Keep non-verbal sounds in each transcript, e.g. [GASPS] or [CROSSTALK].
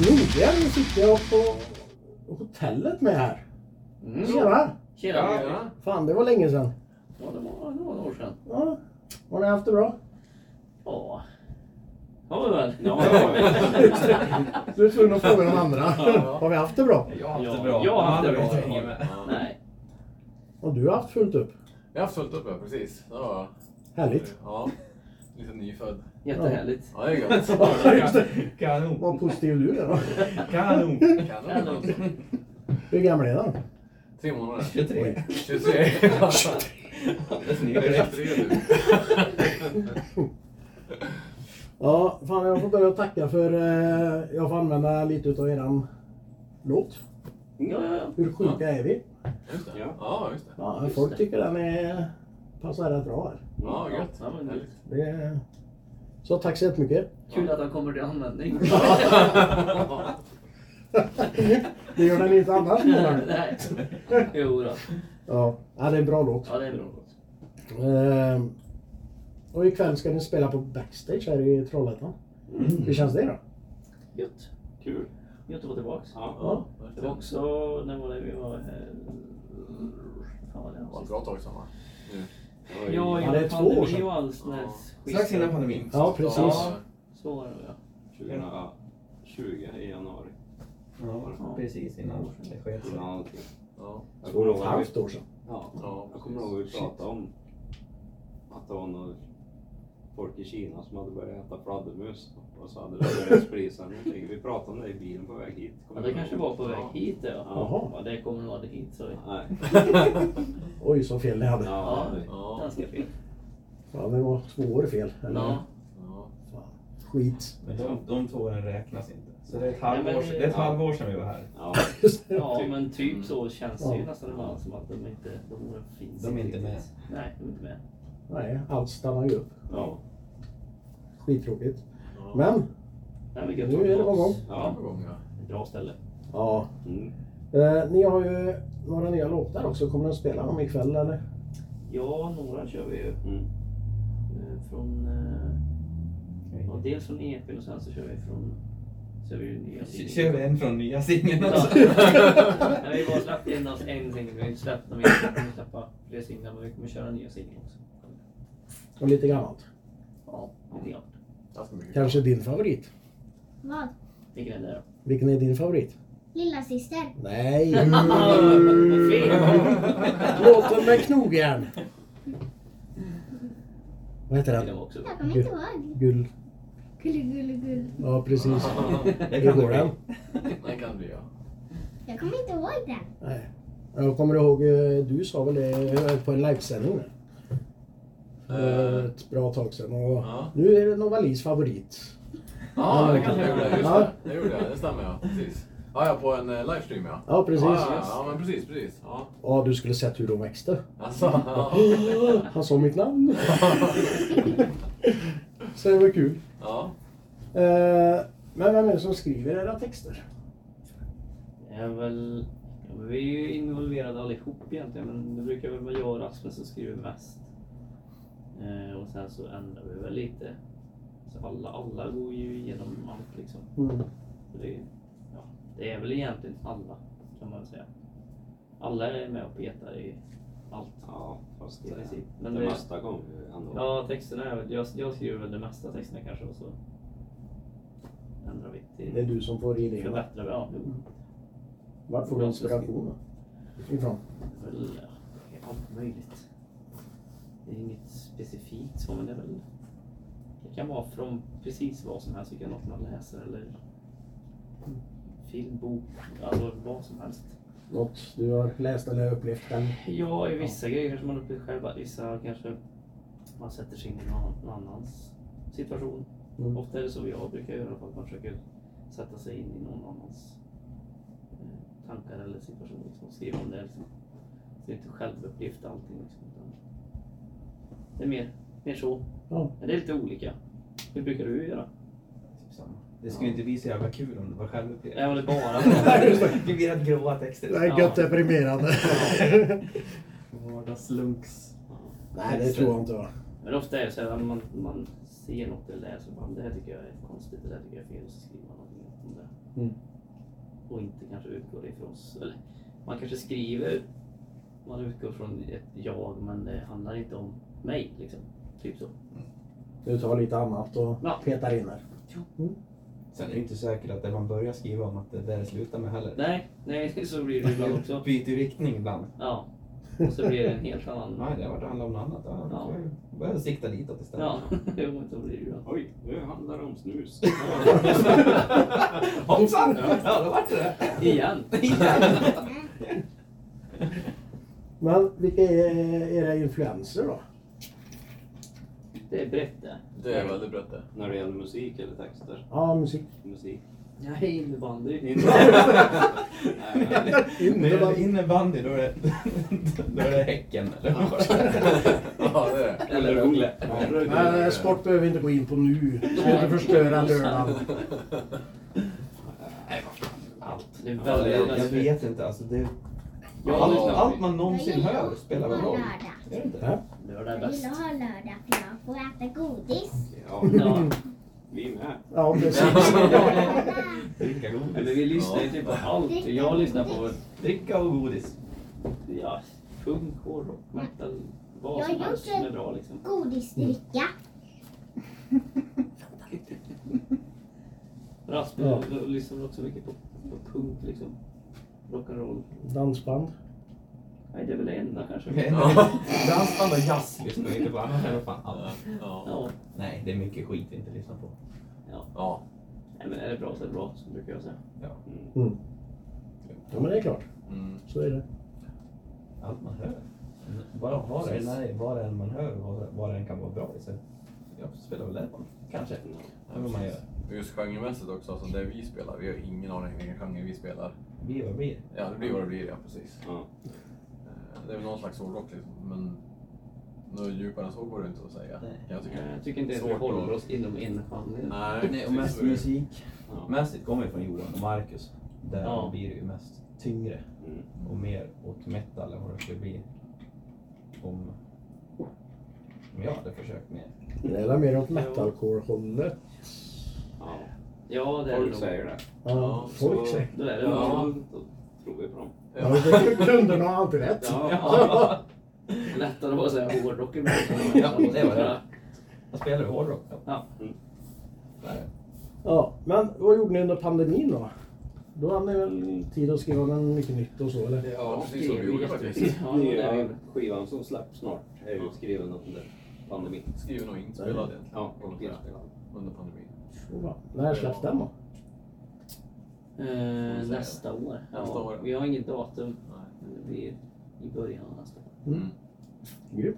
Nordgren sitter jag på hotellet med här. Mm. Tjena! Tjena! Ja, Ja, ja. Fan, det var länge sedan. det var några år sedan. Ja. Har ni haft det bra? Ja, har vi väl? Du är tvungen att fråga de andra. Ja. Har vi haft det bra? Jag har haft Ja, det bra. jag har haft De det andra bra. vet inget med. [LAUGHS] Nej. Och du har haft fullt upp. Jag har haft fullt upp, ja, precis. Det var Härligt. Ja. Lite nyfödd. Jättehärligt. Ja, det är gött. [LAUGHS] Just det. Vad Kanon. positiv du är då. Kanon. Kanon. Hur gammal är han? Tre månader. 23. 23. Det är snyggt Det är direkt. 23 nu. [LAUGHS] Ja, fan jag får börja tacka för eh, jag får använda lite utav eran låt. Ja, ja, ja. Hur sjuka är vi? Just det. Ja. Ja, just det. Ja, Just folk det. tycker den är, passar rätt bra här. Ja, gött. Ja, men [LAUGHS] Härligt. Det är, så tack så jättemycket. Kul att han kommer till användning. [LAUGHS] Det gör den inte annars menar du? [LAUGHS] [LAUGHS] Nej. Jo då. Ja, ja, det är en bra låt. Ja, det är bra. Ehm, och ikväll ska ni spela på Backstage här i Trollhättan. Mm. Hur känns det då? Gött. Kul. Gött att vara tillbaks. Ja. Det var också, när var det vi var... eh, Fan vad det Det var ett var. bra tag sedan, va? Nu. Ja, Ja, det är innan två år sedan. pandemi och allt sånt där Ja. skit. Strax innan pandemin. Ja, precis. Ja. Så var det ja. 2020 i januari. Ja. precis innan det sket sig. Innan allting. Ja. Jag kommer ihåg Ett att vi, halvt år sedan. ja, Ja, jag kommer ihåg att vi pratade om att det var några folk i Kina som hade börjat äta fladdermus och så hade det [LAUGHS] börjat sprida sig någonting. Vi pratade om det i bilen på väg hit. Ja, Kommer det du kanske ihåg? var på väg hit ja. Jaha. Ja, det kommer nog aldrig hit så. Ja, Nej. Oj, så fel det hade. Ja, det- Ja. ganska fel. Ja, det var två år fel. Eller? [LAUGHS] Ja. Ja. Fan, skit. Men de, de två åren räknas inte. Så det är ett Nej, halvår, men- sedan- det är ett ja. halvår sedan vi var här. ja. [LAUGHS] ja, men typ så känns det ju Ja. nästan ibland som att de inte de finns. De är inte med. riktigt. Nej, de är inte med. Nej, allt stannar ju upp. Ja. Skittråkigt. Ja. Men, Nej, men gött Nu att är det vara igång. tillbaks. Ja, ja. på gång, ja. Bra ställe. ja. Mm. Eh, ni har ju några nya låtar också. Kommer ni att spela dem ikväll eller? Ja, några kör vi ju. Mm. Eh, Från, eh, ja, dels från EPn och sen så kör vi från... Så är vi ju nya K- singlar. Kör vi en från nya singeln [LAUGHS] Ja. också? Nej, vi har bara släppt endast en singel. Vi har inte släppt dem. Vi kommer släppa fler singlar men vi kommer köra nya singlar också. Och lite gammalt. Ja, lite grann. Ganska mycket. Kanske din favorit? Vad? Vilken är det då? Vilken är din favorit? Lilla syster? Nej! [LAUGHS] Fel! Låten med knogjärn. Vad heter Det var den? också bra. Jag kommer inte ihåg. Gull... Gulligulligull. Ja, precis. Det Hur kan det går bli. den? Nej, kan [LAUGHS] det bli, ja. Jag kommer inte ihåg den. Nej. Jag kommer ihåg, eh, du sa väl det eh, på en livesändning? Eh, Eh. Ett bra tag sedan. Och Ja. nu är det Novalis favorit. Ja, det kanske jag gjorde. Just Ja. det. det gjorde jag. Det stämmer, ja. Precis. Ja, ja, på en eh, livestream, ja. Ja, precis. Ja, ja, ja, men precis, precis. Ja. Ja, du skulle sett hur de växte. Alltså, ja. [GASPS] Han sa mitt namn. Så det var kul. [LAUGHS] ja. Eh, Men vem är det som skriver era texter? Det är väl... Ja, men vi är ju involverade allihop egentligen men det brukar väl vara jag och Rasmus som skriver mest. Eh, och sen så ändrar vi väl lite. Så alla, alla går ju igenom allt liksom. Så det, ja, det är väl egentligen alla kan man säga. Alla är med och petar i allt. ja, fast I det, princip. det Men det, mesta kommer ju ändå. ja, texterna är väl... Jag, jag skriver väl de mesta texterna kanske och så ändrar vi till... Det är du som får idéerna. Förbättrar vi, ja. jo. Var får du inspirationen ifrån? väl ja, allt möjligt. Det är inget specifikt så, men det är väl... Det kan vara från precis vad som helst, vilka något man läser eller film, bok, alltså vad som helst. Något du har läst eller upplevt själv? Ja, i vissa grejer kanske man upplever själv, att vissa kanske man sätter sig in i någon någon annans situation. Mm. Ofta är det så jag brukar göra, att man försöker sätta sig in i någon annans eh, tankar eller situation liksom, och skriva om det. Liksom. Så det är inte självupplevt allting. Liksom, utan det är mer, mer så. Ja. Men det är lite olika. Hur brukar du göra? Typ samma. Det skulle inte bli så jävla kul om det var självupplevt. Jag håller [LAUGHS] Det bara skulle bli rätt gråa texter. Det är gött deprimerande. Vardagslunks. Nej, det tror jag inte. va? Men ofta är det så här, man, man ser något eller läser, man, det här tycker jag är konstigt, det här tycker jag är fel, och så skriver man någonting om det. Mm. Och inte kanske utgår ifrån... s- Eller, man kanske skriver... Man utgår från ett jag, men det handlar inte om mig. Liksom. Typ så. Du tar lite annat och Ja. petar in där. Sen är det inte säkert att det man börjar skriva om att det är där det slutar med heller. Nej, nej, så blir det ibland [LAUGHS] också. Byter riktning ibland. Ja. Och så blir det en helt annan... Nej, det har varit handlat om något annat. Ja, Mm. Ja. Jag börjar sikta ditåt istället. Ja, [LAUGHS] jo, men så blir det ju. Oj, nu handlar det [LAUGHS] om snus. [LAUGHS] Hoppsan! Ja, då vart det det. [LAUGHS] Igen! Men vilka är era influenser då? Det är brett det. Det är väldigt brett det. När det gäller musik eller texter. Ja, musik. Musik. Nej, [LAUGHS] innebandy. Nej, men- När det gäller innebandy då är det, [LAUGHS] då är det Häcken. Eller? [LAUGHS] vad var ja, det? det är det. Eller Ole. Nej, nej, sport behöver vi inte gå in på nu. Ska inte förstöra lördagen. Allt. Det är Ja, väldigt... jag, jag vet inte. Alltså, det, Ja, allt, lyssna. allt man någonsin Jag gillar hör att spelar väl ha roll? lördag. Är det inte? Ja. Lördag är Jag bäst. gillar att ha lördag för jag får äta godis. Ja, Ja, vi med. Ja, precis. Dricka men godis. vi lyssnar ju typ på allt. Jag lyssnar på Dricka och godis. ja, punk, hårdrock, metal, vad Jag som gör helst inte- som är bra liksom. Godisdricka. Rasmus Ja. ja. lyssnar också mycket på, på punk liksom. Rock'n'roll. Dansband. Nej, det är väl det enda kanske. [LAUGHS] Ja. Dansband och jazz lyssnar vi inte på. Annars är det fan Ja, allt. ja. Ja. Nej, det är mycket skit vi inte lyssnar på. ja. Nej, men är det bra så är det bra, så brukar jag säga. Mm. Ja, men det är klart. Mm. Så är det. Allt man hör. Bara vad det, nej, vad det än man hör och vad- vad det än kan vara bra i. Så jag spelar väl det. Kanske. Det är vad man gör. Just genremässigt också, som det vi spelar. Vi har ingen aning vilken genre vi spelar. Blir vad blir. Ja, det blir vad det blir, ja precis. Ja. Eh, Det är väl någon slags hårdrock liksom, men något djupare än så går det inte att säga. Nej. Jag tycker. Eh, Jag tycker inte ens vi Svårt håller att- oss inom en genre. Nej, Nej, och precis mest vad det är. musik. Ja. Mässigt kommer ju från Johan och Marcus. Där Ja. blir det ju mest tyngre Mm. och mer åt metal än vad det skulle bli om, om jag hade försökt mer. Det är väl mer åt metalcore-hållet. Ja. Ja, det är det Folk nog. säger det. Ja, folk säger. Då är det Ja. ja. Då tror vi på dem. Ja, det- kunderna har alltid rätt. [LAUGHS] Ja. Lättare att bara säga hårdrock ibland. Ja, det var det. Jag spelar ju hårdrock. Mm. Ja. Där. [LAUGHS] Ja, men vad gjorde ni under pandemin då? Då hade ni väl tid att skriva men mycket nytt och så eller? Ja, precis vad vi gjorde faktiskt. Ja, det är Nya ju- skivan som släpps snart är ju skriven under pandemin. Skriven och inspelad egentligen. Ja, får man säga, inspelad. Under pandemin. Och bara, När släpps den då? Eh, nästa år. Ja, Nästa år, ja. Vi har inget datum. Nej. Men det blir i början av nästa år. Mm. Grymt.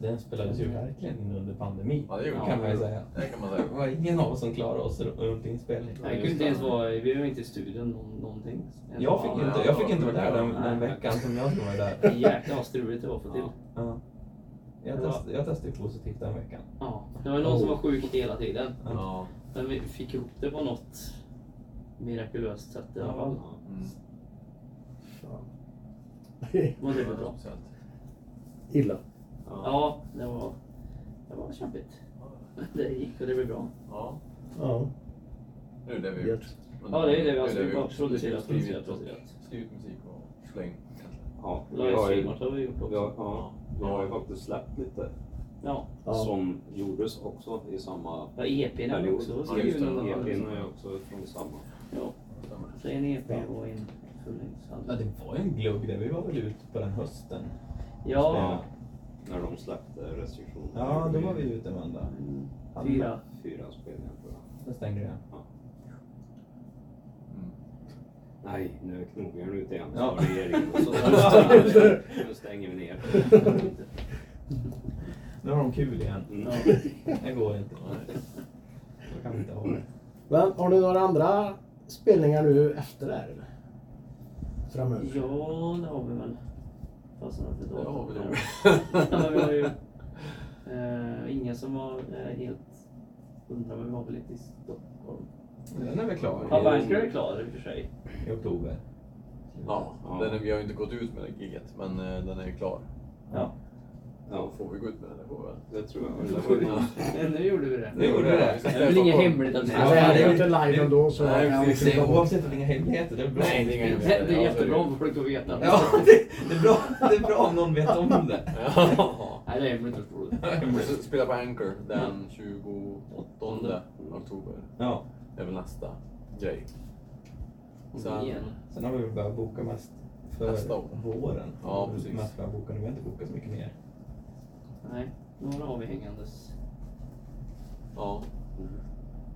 Den spelades ju verkligen in under pandemin. Ja, det gjorde kan man ju vi. säga. Det kan man Det säga. var ingen av oss som klarade oss runt inspelning. Nej, vi kunde inte ens vara, vi var inte i studion nå- någonting. Jag fick inte, jag fick inte vara där den, den Nej. veckan som jag skulle vara där. Det jäkla vad struligt det var för till. Ja. Jag, test, jag testade ju positivt den veckan. Ja. Det var någon som var sjuk hela tiden. Ja. Men vi fick ihop det på något mirakulöst sätt i alla fall. Ja. Mm. Det var Ja, väldigt bra. så [LAUGHS] att- Illa. Ja. Ja, det var, det var kämpigt. [LAUGHS] Det gick och det blev bra. Ja. Ja. Det är det vi har Gött. gjort. Ja, det är det vi har skrivit gjort. och producerat. Skrivit producerat, och- producerat. Skrivit musik och slängt. Ja. Vi har ju, Livestreamat har vi gjort vi har, också. ja, vi har ju faktiskt släppt lite Ja, Ja. som gjordes också i samma ja EPn har vi period. också Ja, just skrivit. det. någon annan. EPn är ju också från samma. Ja, så en EP och en fullängdsalbum. Ja, det var ju en glugg där. Vi var väl ute på den hösten. Ja, När de släppte restriktioner. Ja, då var vi ute med andra. mm, Ja. fyra. Fyra spelningar tror jag. Sen stängde den. Mm. Nej, nu är knogjärn ute igen. Ja. Ja. Regeringen och så. [LAUGHS] Nu stänger vi ner. Nu har de kul igen. Mm. Ja. Det går inte. Så kan vi inte ha det. [LAUGHS] Men har ni några andra spelningar nu efter det här? eller? Framöver? Ja, det har vi väl. Fast inte då. Det har vi nog. Ja, men vi har ju eh, ingen som var eh, helt hundra, men vi var väl lite i Stockholm. Den är väl klar. Ja, Banker är klar i och för sig. I oktober. Ja, den är, vi har ju inte gått ut med det giget, men eh, den är ju klar. Ja. Ja, Får vi gå ut med det? Det får vi väl. det tror jag. Det var ju någon- Men nu gjorde vi det. Det gjorde vi. Det är väl inget hemligt att vi Alltså, det här är ju inte live det- ändå så... Nej, ja, precis. vi Det kan är ta bort. oavsett om det är inga hemligheter, det är bra. Nej, det är inga Det är jättebra Ja, om folk att veta. Ja, [LAUGHS] det, det, är bra, det är bra om någon vet om det. [LAUGHS] Ja. Nej, det är hemligt att tro [LAUGHS] det. Spela på Anchor Mm. den 28 oktober. Ja, Det är väl nästa grej. Sen... Sen, sen har vi väl börjat boka mest Nästa för år. våren. Ja, precis. Mest börjat boka, nu har vi inte bokat så mycket mer. Nej, några har vi hängandes. ja. Mm.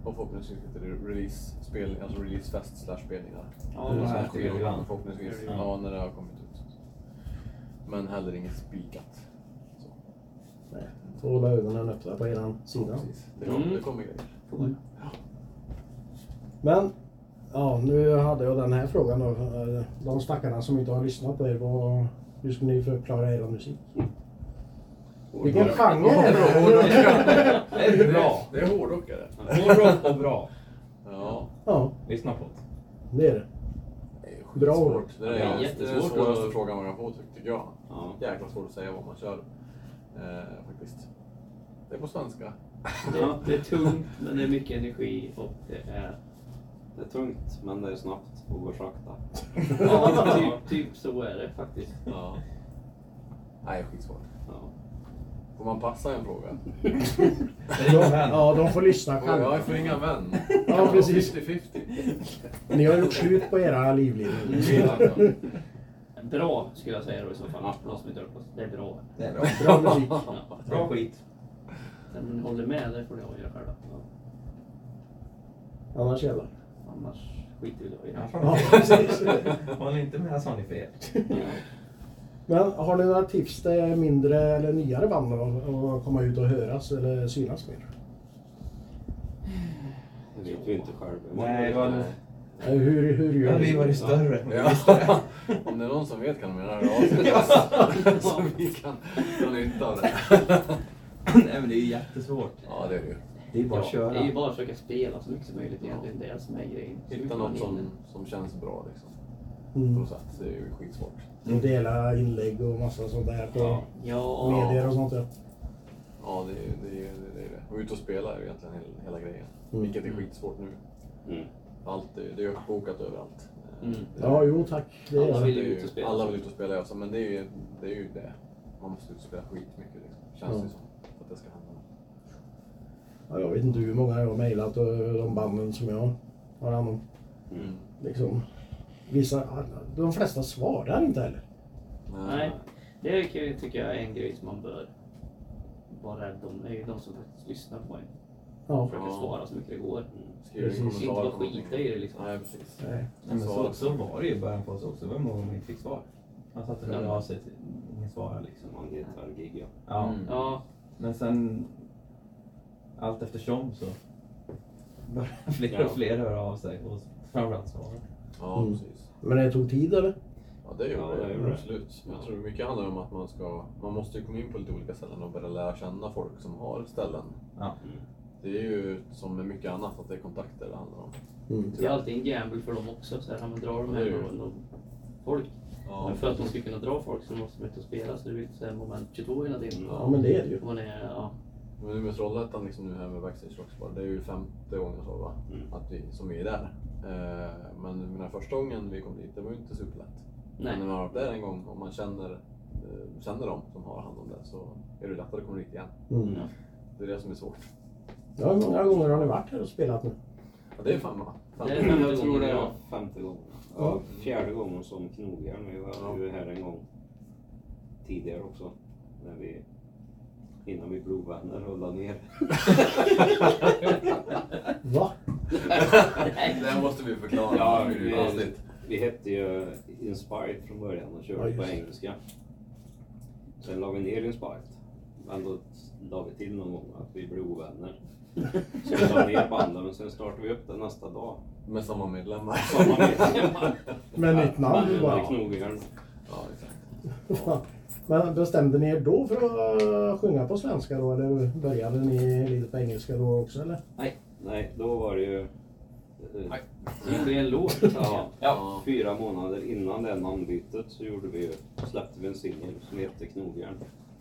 Och förhoppningsvis lite release-spel, alltså releasefest slash spelningar. Ja, Mm. men Som så här här sker ju. sker. an. Förhoppningsvis. Ja. Ja, när det har kommit ut. Men heller inget spikat. Så, Får hålla ögonen öppna på eran sida. precis. Det kommer, Mm. det kommer grejer. Men, ja, nu hade jag den här frågan då. Eh, De stackarna som inte har lyssnat på er, vad, hur skulle ni förklara er musik? Vilken genre är det? Hårdrockare. [LAUGHS] Det är bra. Det är hårdrockare. Hårdrock och bra. Ja. Ja, Lyssna på det. det är det. Bra ord. Det är, Ja, det är den jättesvårt svåraste att- frågan man kan få tycker jag. Ja. Jäkla svårt att säga vad man kör. Eh, faktiskt. Det är på svenska. Ja, det är tungt, men det [LAUGHS] är mycket energi och det är... Det är tungt, men det är snabbt och går sakta. Ja, typ, typ så är det faktiskt. Ja. Nej, skitsvårt. Ja. Får man passa en fråga? Ja, de får lyssna Ja, jag får själva. inga [LAUGHS] män. Ja, precis. 50-50. Ni har gjort slut på era Mm, livlinjer. Bra, skulle jag säga då i så fall. Ja. Bra som inte hört på. Det är bra. Det är bra. Bra musik. Ja. Bra skit. Sen om ni håller med, det får ni avgöra själva. Ja. Annars jävlar. Annars skiter vi då i Ja, det. fan. Ja, precis. Var ni inte med så har ni fel. Men har ni några tips till mindre eller nyare band då, att komma ut och höras eller synas mer? Det vet vi inte själva. Nej, vad- Eh, Hur, hur Ja, gör vi var ju ni? större. men vi visste det. Ja. [LAUGHS] Om det är någon som vet kan de göra det av sig till oss. Så vi kan dra nytta av det. Nej, men det är ju jättesvårt. Ja, det är det ju. Det är bara Ja, att köra. det är ju bara att försöka spela så mycket som möjligt egentligen. Det är det som är grejen. Så Hitta mycket man något hinner. som, som känns bra liksom. På Mm. något sätt. Det är ju skitsvårt. Och dela inlägg och massa sånt där på Ja, och medier och sånt där. Ja, det är ju det. Är, ju- det, är ju det. Och ut och spela är ju egentligen hela, hela grejen. Mm. Vilket är skitsvårt nu. Mm. Allt är, det är uppbokat överallt. Eh, Mm. Det är- Ja, jo tack. Det är Alla det. vill det är ju ut och spela. Alla vill ut och spela, ja. så- Men det är, ju, det är ju det. Man måste ut och spela skitmycket liksom. Känns Ja. det som. För att det ska hända. Ja, jag vet inte hur många jag har mejlat och de banden som jag har hand om. Mm. Liksom, vissa, de flesta svarar inte heller. Eh, Nej, det kan jag tycka är en grej som man bör vara rädd om. Det är ju de som faktiskt lyssnar på en. Ja. Försöker Ja. Mm. svara så mycket det går. Skriv en Precis. kommentar. Inte bara på någonting. skita i det liksom. Nej, precis. Nej. Nej, men så, så var det ju i början på oss också. Det var många som inte fick svar. Man satt och hörde av sig till ingen svarade liksom. Som man gitarrgig, ja. Ja. Mm. Ja, Men sen allt eftersom så började [LAUGHS] fler Ja. och fler höra av sig och framförallt svara. Ja, Mm. precis. Men det tog tid eller? Ja, det Ja, gör det det. gör det. Absolut. Men Ja. jag tror mycket handlar om att man ska... Man måste ju komma in på lite olika ställen och börja lära känna folk som har ställen. Ja. Det är ju som med mycket annat att det är kontakter det handlar om. Mm. det är alltid en gamble för dem också. Så här, man drar de Det är här ju- och de folk. Ja, Men för att de ska kunna dra folk så måste de ut och spela. Så det blir så här moment 22 hela Mm. tiden. Ja men det är det ju. Och Man är, ja, Men nu med Trollhättan liksom nu här med Backstage Rockspar, det är ju femte gången så va? Mm. Att vi, som vi är där. Eh, men den första gången vi kom dit, det var ju inte superlätt. nej. Men [LAUGHS] när man har varit där en gång och man känner, eh, känner dem som har hand om det så är det lättare att komma dit igen. Mm. Det är det som är svårt. Ja, hur många gånger har ni varit här och spelat nu? Ja, det är fan va? Fan. Det är Men femte jag tror gången, det ja. var Mm. femte gången. Ja, fjärde gången som knogjärn. Vi var ju här en gång tidigare också. När vi, innan vi blev vänner rullade ner. [LAUGHS] [LAUGHS] Va? Det här måste vi förklara. Ja, det är ju vi- konstigt. Vi hette ju Inspired från början och Ja, körde just på det. engelska. Sen la vi ner Inspired. Men då la vi till någon gång att vi blev ovänner. Så vi la ner bandet men sen startade vi upp det nästa dag. Med samma medlemmar. Samma medlemmar. [LAUGHS] Med nytt namn Ja, bara? knogjärn. [LAUGHS] Ja, exakt. Men bestämde ni er då för att sjunga på svenska då eller började ni lite på engelska då också eller? Nej, då var det ju... eh, Nej. Det gjorde en låt. [LAUGHS] Ja, Ja. Fyra månader innan det namnbytet så gjorde vi, ju- släppte vi en singel som hette Knogjärn.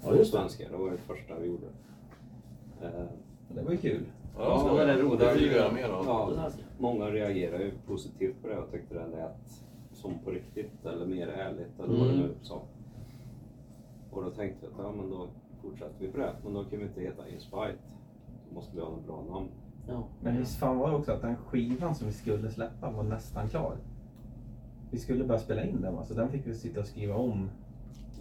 Ja, just det. svenskar, det var det första vi gjorde. Eh, Det var ju kul. Ja, det var det roligt. Det vill vi göra mer av. Ja, många reagerade ju positivt på det och tyckte det lät som på riktigt eller mer ärligt eller vad det nu sa. Och då tänkte jag att ja, men då fortsätter vi på det. Men då kan vi inte heta Inspite. Då måste vi ha något bra namn. Ja. Men visst fan var det också att den skivan som vi skulle släppa var nästan klar. Vi skulle börja spela in den va, så den fick vi sitta och skriva om.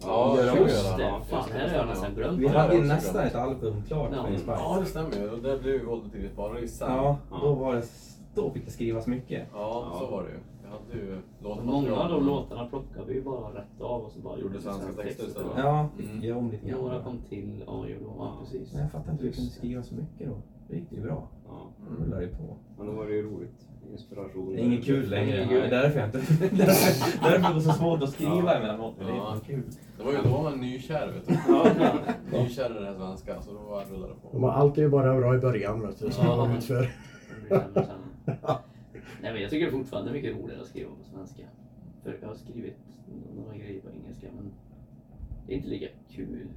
Ja, Just det det, får vi göra. Ja, fan, det här har jag nästan glömt. Vi Ja, det hade är ju också nästan bra. ett album klart Ja. för Inspire. Ja, det stämmer ju. Och Där blev vi våldet till bara isär. Ja, Ja. då, var det, då fick det skrivas mycket. ja, så Ja. var det ju. Jag hade ju Många av de låtmaterial. låtarna plockade vi ju bara rätt av och så bara Gjorde vi svenska texter istället. Ja, Mm. göra om lite Några grann. kom till, ja, gjorde de, ja, precis. Men jag fattar inte hur vi kunde Just det. skriva så mycket då. Det gick ju bra. Ja, Det Mm. rullade ju på. men då var det ju roligt. Inspiration. Det är inget kul längre. Ingen Det är kul. därför jag inte... [LAUGHS] därför därför det är så svårt att skriva Ja. emellanåt. men Det är Ja. fan kul. Det var ju då man nykär vet du. [LAUGHS] Ja. Nykär i det här svenska, så då var det rullade det på. De har alltid bara bra i början vet du, sen Ja. går det utför. Det blir sämre sen. Nej men jag tycker fortfarande det är mycket roligare att skriva på svenska. För jag har skrivit några grejer på engelska men det är inte lika kul.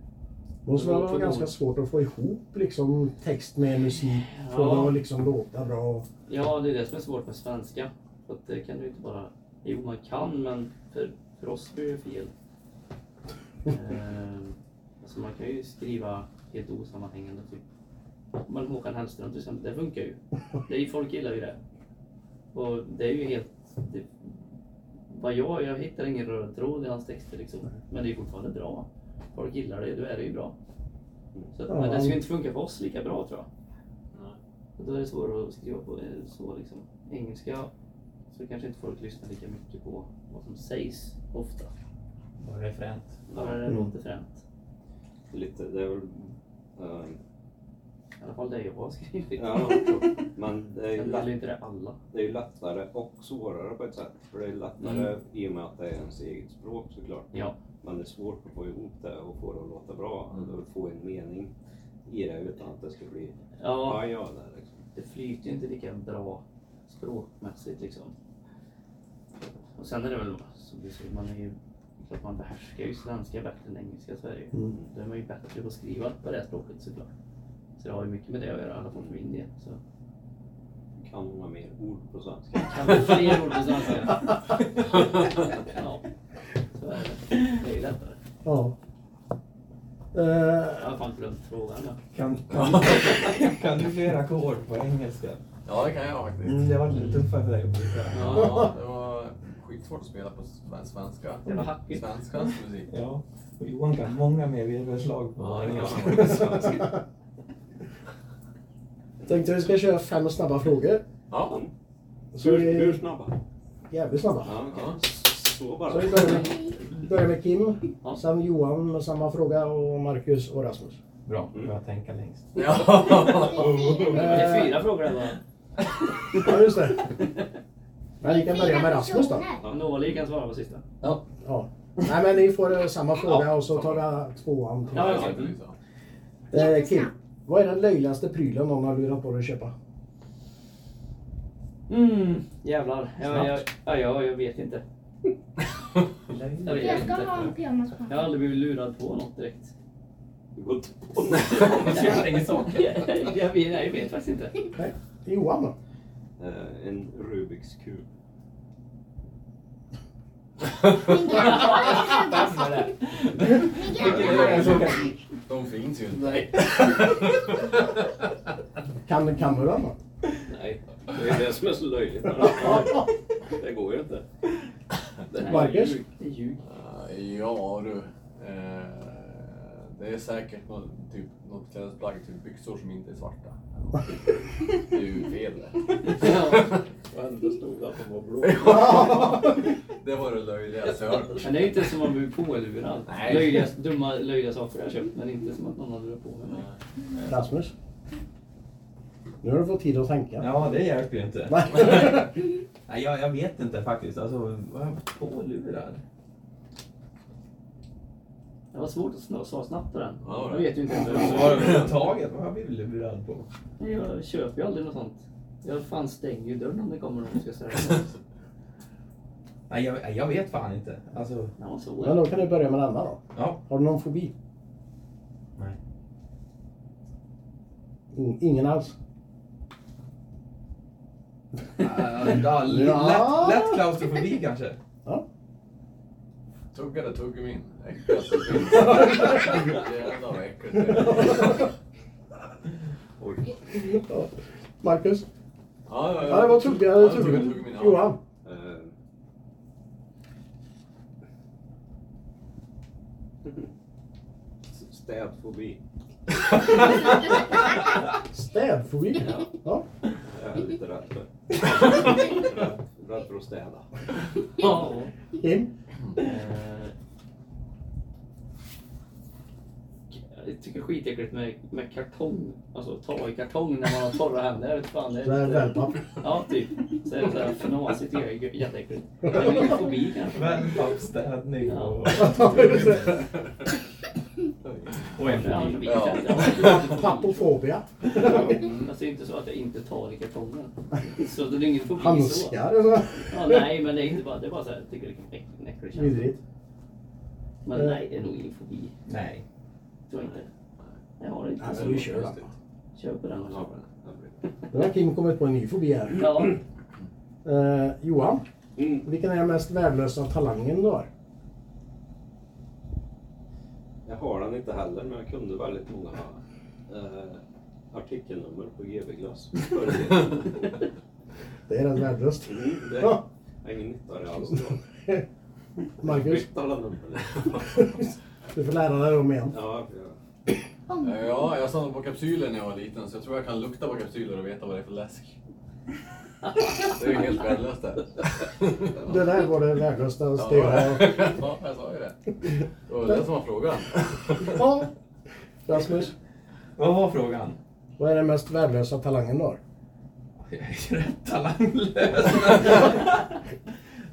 Måste väl vara Förmodligen. ganska svårt att få ihop liksom, text med musik, få Ja. det att liksom låta bra. Ja, det är det som är svårt med svenska. För att det kan du inte bara... Jo, man kan, men för, för oss blir det fel. Ehm, alltså man kan ju skriva helt osammanhängande, typ. Men Håkan Hellström till exempel, det funkar ju. Det är ju folk gillar ju det. Och det är ju helt... Det, vad jag, jag hittar ingen röd tråd i hans texter liksom. Men det är ju fortfarande bra. Folk gillar det, då är det ju bra. Så att, men det skulle inte funka för oss lika bra tror jag. Och Då är det svårare att skriva på eh, så liksom. engelska. Så kanske inte folk lyssnar lika mycket på vad som sägs ofta. Bara det är fränt. Bara det Mm. låter fränt. Lite, det är väl... ehm, I alla fall det jag har skrivit. ja, men det är ju Sen gäller lätt ju inte det alla. Det är ju lättare och svårare på ett sätt. För det är lättare i och med att det är ens eget språk såklart. Ja. Men det är svårt att få ihop det och få det att låta bra. Eller få en mening i det utan att det ska bli ja, ja, ja där liksom. det flyter ju inte lika bra språkmässigt liksom. Och sen är det väl som du säger, man är ju klart man behärskar ju svenska bättre än engelska så är det ju. Mm. Då är man ju bättre på att skriva på det här språket såklart. Så det har ju mycket med det att göra, i alla fall för min del. Så. Kan man mer ord på [LAUGHS] svenska? Kan vi fler ord på svenska? Ja, så är det. Det är ju lättare. Ja. Jag Eh, [LAUGHS] har fan glömt frågan. Ja. Kan, kan, kan du fler ackord på engelska? [LAUGHS] Ja, det kan jag faktiskt. Mm, det var lite tuffare för dig att bryta. Ja, det var skitsvårt att spela på sve- svenska. Det var hackigt. Svenskans musik. Ja, och Johan kan många mer virvelslag på Ja, det kan engelska. man på svenska. tänkte vi ska köra fem snabba frågor. Ja, Så Hur, vi hur är snabba? jävligt snabba. Ja, okej. Ja. Så bara. Så vi börjar med, börjar med Kim, Ja. sen Johan med samma fråga och Marcus och Rasmus. [LAUGHS] Bra, Mm. börja tänka längst. ja. Det är fyra frågor det var. Ja, just det. Men vi kan börja med Rasmus då. Nåli kan svara på sista. Ja. Nej, men ni får eh, samma fråga och så tar vi tvåan. till. Ja, Ja, okej. precis, ja. Eh, Kim, vad är den löjligaste prylen någon har lurat på dig att köpa? Mm, jävlar. Jag, jag, Snabbt. ja, jag, jag vet inte. Jag Jag vet ska ha en inte. pyjamas på Jag har aldrig blivit lurad på något direkt. Du går inte på Så jävla ingen sak. Jag, jag, [LAUGHS] jag, vet, jag vet faktiskt inte. Johan då? [LAUGHS] Eh, En Rubiks kub. Min granne har en Vad är det? Min granne har en sån där. De finns ju inte. Nej. Kan, kan du [LAUGHS] den då? Nej, det är det som är så [LAUGHS] löjligt. Det går ju inte. Det är Marcus? ljug. Det är ljug. Ja du. Eh, Det är säkert något, typ, något klädesplagg, typ byxor som inte är svarta. Det är ju fel det. Och ändå stod han på vår blå. [LAUGHS] Det var det löjligaste jag hört. Men det är inte som att bli pålurad. Nej. Löjliga, dumma löjliga saker jag har köpt men inte som att någon har lurat på mig. Rasmus? Nu har du fått tid att tänka. Ja, det hjälper ju inte. [LAUGHS] Nej. [LAUGHS] Nej, jag, jag vet inte faktiskt. Alltså, vad har jag varit pålurad? Det var svårt att sn- svara snabbt på den. Ja, jag vet ju inte. Vad har jag överhuvudtaget? Vad har vi blivit lurad på? Nej, Jag köper ju aldrig något sånt. Jag fan stänger ju dörren om det kommer någon som ska säga Eh, [LAUGHS] något. Nej, jag, jag vet fan inte. Alltså, Ja, så. Men då kan du börja med denna då. ja. Har du någon fobi? Mm, Ingen alls. Ja, [LAUGHS] lätt, lätt klaustrofobi kanske. Ja. Tuggade tuggummin. Äckligaste som finns. Jävlar vad äckligt det är. Oj. Ja. Marcus? Ja, ja, ja. Ja, det var tuggade Ja, tuggummin. ja. Johan? Eh. [LAUGHS] Städfobi. Städfobi? Ja. Jag är lite rädd för. Rädd- Rädd för att städa. Ja. Kim? Eh, Jag tycker skitäckligt med, med kartong. Alltså ta i kartong när man har torra händer. Jag vet fan, det Det är är lite, wellpapp. ja, typ. Så är det såhär fnasigt. Det är ju jätteäckligt. Det är min fobi kanske. [LAUGHS] Wellpappstädning och... Och Ja, det är en en fobi. Ja. Pappofobia. Alltså det är inte så att jag inte tar i kartongen. Så det är ingen fobi så. Handskar. alltså. Ja, nej, men det är inte bara, det är bara så här, jag tycker det är en äcklig- en äcklig känsla. Vidrigt. Men nej, det är nog ingen fobi. Nej. Tror jag inte. Jag har det inte. Alltså vi kör då. Kör på den. Ja, det blir- Nu har Kim kommit på en ny fobi här. Ja, [LAUGHS] Eh, Johan, Mm. vilken är den mest värdelösa talangen du har? Jag har den inte heller, men jag kunde väldigt många eh, artikelnummer på GB-glass. förr i tiden. Det är rätt värdelöst. Mm, Det Ja. är ingen nytta av det alls. då. Marcus, Bytt alla nummer. du får lära dig dem igen. Ja, jag- Ja, jag samlade på kapsyler när jag var liten så jag tror jag kan lukta på kapsyler och veta vad det är för läsk. Det är ju helt värdelöst det. Det där var det värdelösta [LAUGHS] Ja, steget. Ja, jag sa ju det. Det var det som var frågan. Ja. Rasmus, Vad var frågan? vad är den mest värdelösa talangen du har? Jag är rätt [LAUGHS] talanglös.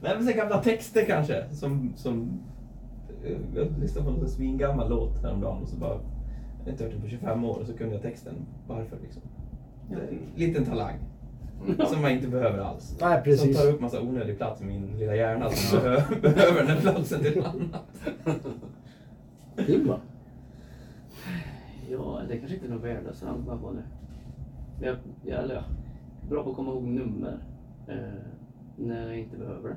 Nej men så gamla texter kanske. Som, som, eh, jag lyssnade på en svingammal låt häromdagen och så bara... Jag har inte hört den på 25 år och så kunde jag texten. Varför liksom? Det är en liten talang. Som jag inte behöver alls. Mm. Nej, Som precis. tar upp massa onödig plats i min lilla hjärna som behö- [LAUGHS] behöver den platsen till annat. [LAUGHS] Kim va? ja det kanske inte är något värdelöst namn jag på nu. Men Jag, jag, eller, jag är bra på att komma ihåg nummer. Eh, när jag inte behöver det.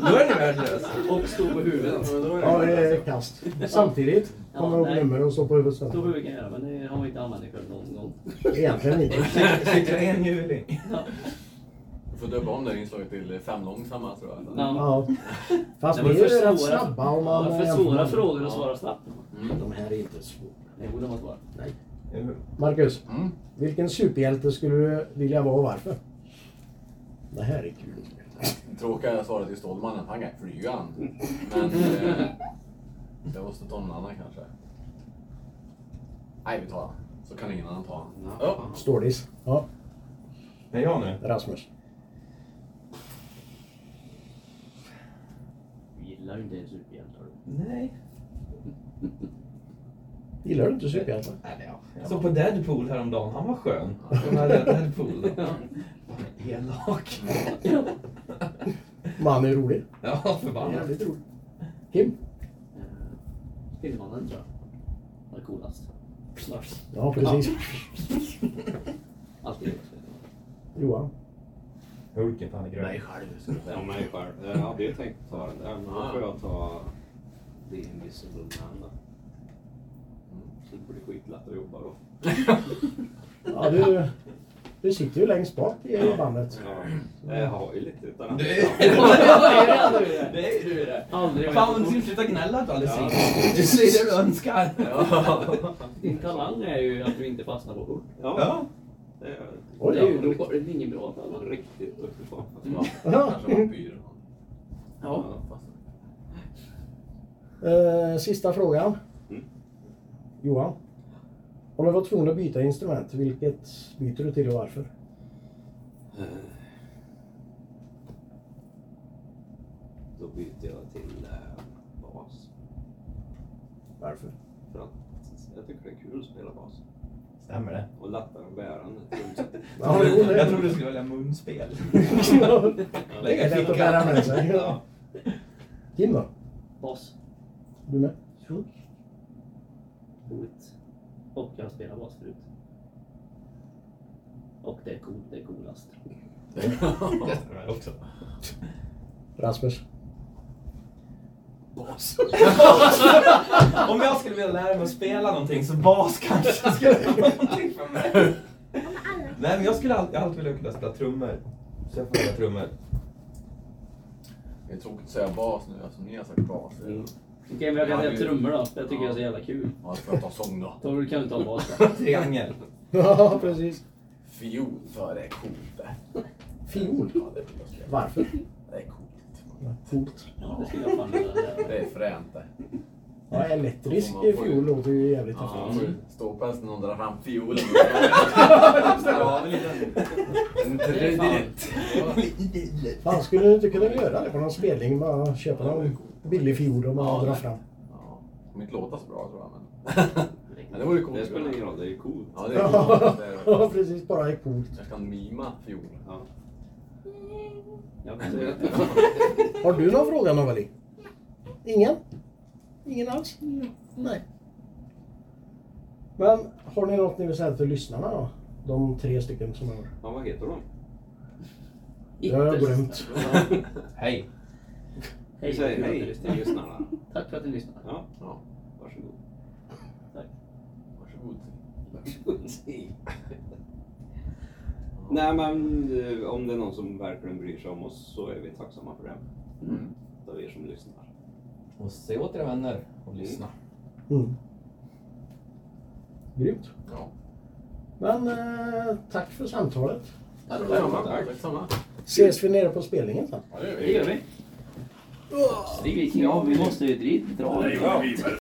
Då är den värdelös. Och stå på huvudet. Ja, det är kast. Samtidigt kommer Ja, ihåg nej. nummer och så på huvudet Stå på sen. huvudet kan jag göra, men det har man inte använt det själv någon gång. Egentligen inte. Cykla enhjuling. Du får döpa om det här inslaget till eh, fem långsamma tror jag. Ja. Ja. [LAUGHS] Fast Nej, vi men är ju för rätt svåra- snabba om man ja, För jämför svåra med- frågor att Ja. svara snabbt. Mm. De här är inte svåra. Det borde man svara. Nej. Marcus, Mm. vilken superhjälte skulle du vilja vara och varför? Det här är kul. Tråkiga svaret är Stålmannen, han kan flyga han. Men eh, jag måste ta någon annan kanske. Nej, vi tar han. Så kan ingen annan ta han. Ja. Stålis. Ja, Men jag nu? Rasmus. Vi gillar ju inte ens [LAUGHS] superhjältar. Nej. Gillar du inte superhjältar? Eller ja. Jag såg på Deadpool häromdagen, han var skön. Den [LAUGHS] här Deadpool då. Han är elak. Man är rolig. [LAUGHS] Ja, förbannat. Jävligt rolig. Kim? Eh, Filmmannen tror jag var coolast. Snart. Ja, precis. Alltid. [LAUGHS] [LAUGHS] Johan? Hulken, fan är grön. själv ska du Ja, mig själv. Jag hade ju tänkt ta den där, men då får jag ta The Invisible Man då. Mm. Det blir skitlätt att jobba då. Ja, du, du sitter ju längst bak i bandet. Ja, jag har ju lite utan Du [LAUGHS] Det är du det. Aldrig Fan, du varit ska sluta gnälla att du aldrig Ja. säger Du säger det du önskar. Ja. Din talang är ju att du inte fastnar på ord. Ja, Ja. det är Oj Det är ju då. då var det ingen bra talang. riktigt uppifrån. Ja, [LAUGHS] Kanske vampyr. Ja. Eh, sista frågan. Mm. Johan? Om du var tvungen att byta instrument, vilket byter du till och varför? Då byter jag till eh, bas. Varför? För att jag tycker det är kul att spela bas. Stämmer det? Och lättare att bära än ett [LAUGHS] trumset. Ja, jo, det- Jag trodde du skulle välja munspel. Det är lätt att bära med sig. Ja. [LAUGHS] Kim då? Bas. Du med? Funk. Boet. Och jag har spelat bas förut. Och det är coolt, det är coolast. Testar det här också. Rasmus. Bas. [LAUGHS] Om jag skulle vilja lära mig att spela någonting så bas kanske skulle [LAUGHS] vara någonting för mig. Nej men jag skulle alltid, jag har alltid vilja kunna spela trummor. Så jag får spela trummor. Det är tråkigt att säga bas nu eftersom ni har sagt bas. Mm. Okej, men jag kan säga trummor då, för jag tycker det är så jävla kul. Ja, får jag ta sång då? Då kan du ta bas då. Triangel. Ja, precis. Fiol, för det är coolt det. Fiol? Ja, det vill jag spela. Varför? Det är coolt. Coolt. Ja, det skulle jag fan vilja lära Det mig. är fränt det. Ja, elektrisk Får man- får fiol ju- låter ju jävligt Ja, häftigt. ståpäls när någon drar fram fiolen. En trudelutt. Fan, skulle du inte kunna göra det på någon spelning? Bara köpa någon billig fiol och bara Ja, dra nej. fram. Ja, det kommer inte låta så bra tror jag men. Men det vore coolt. Det spelar ingen roll, det är ju coolt. Ja, det är [LAUGHS] coolt. Det är coolt. Ja, precis. Bara är coolt. Jag kan mima fiol. Ja. Jag kan säga Har du någon fråga Novali? Ingen? Ingen alls? Nej. Men har ni något ni vill säga till lyssnarna då? De tre stycken som är Ja, vad heter de? Det har jag glömt. Hej. Vi Hej, säger hej. hej till lyssnarna. Tack för att ni lyssnade. Ja, Ja, varsågod. varsågod. [LAUGHS] Nej men eh, om det är någon som verkligen bryr sig om oss så är vi tacksamma för det. Mm. Av er som lyssnar. Och se åt era vänner och lyssna. Mm. Grymt. Ja. Men eh, tack för samtalet. Ja, det var samma. Tack samma. Ses vi nere på spelningen sen? Ja, det gör Det vi. gör vi. Ja, vi måste ju dit dra.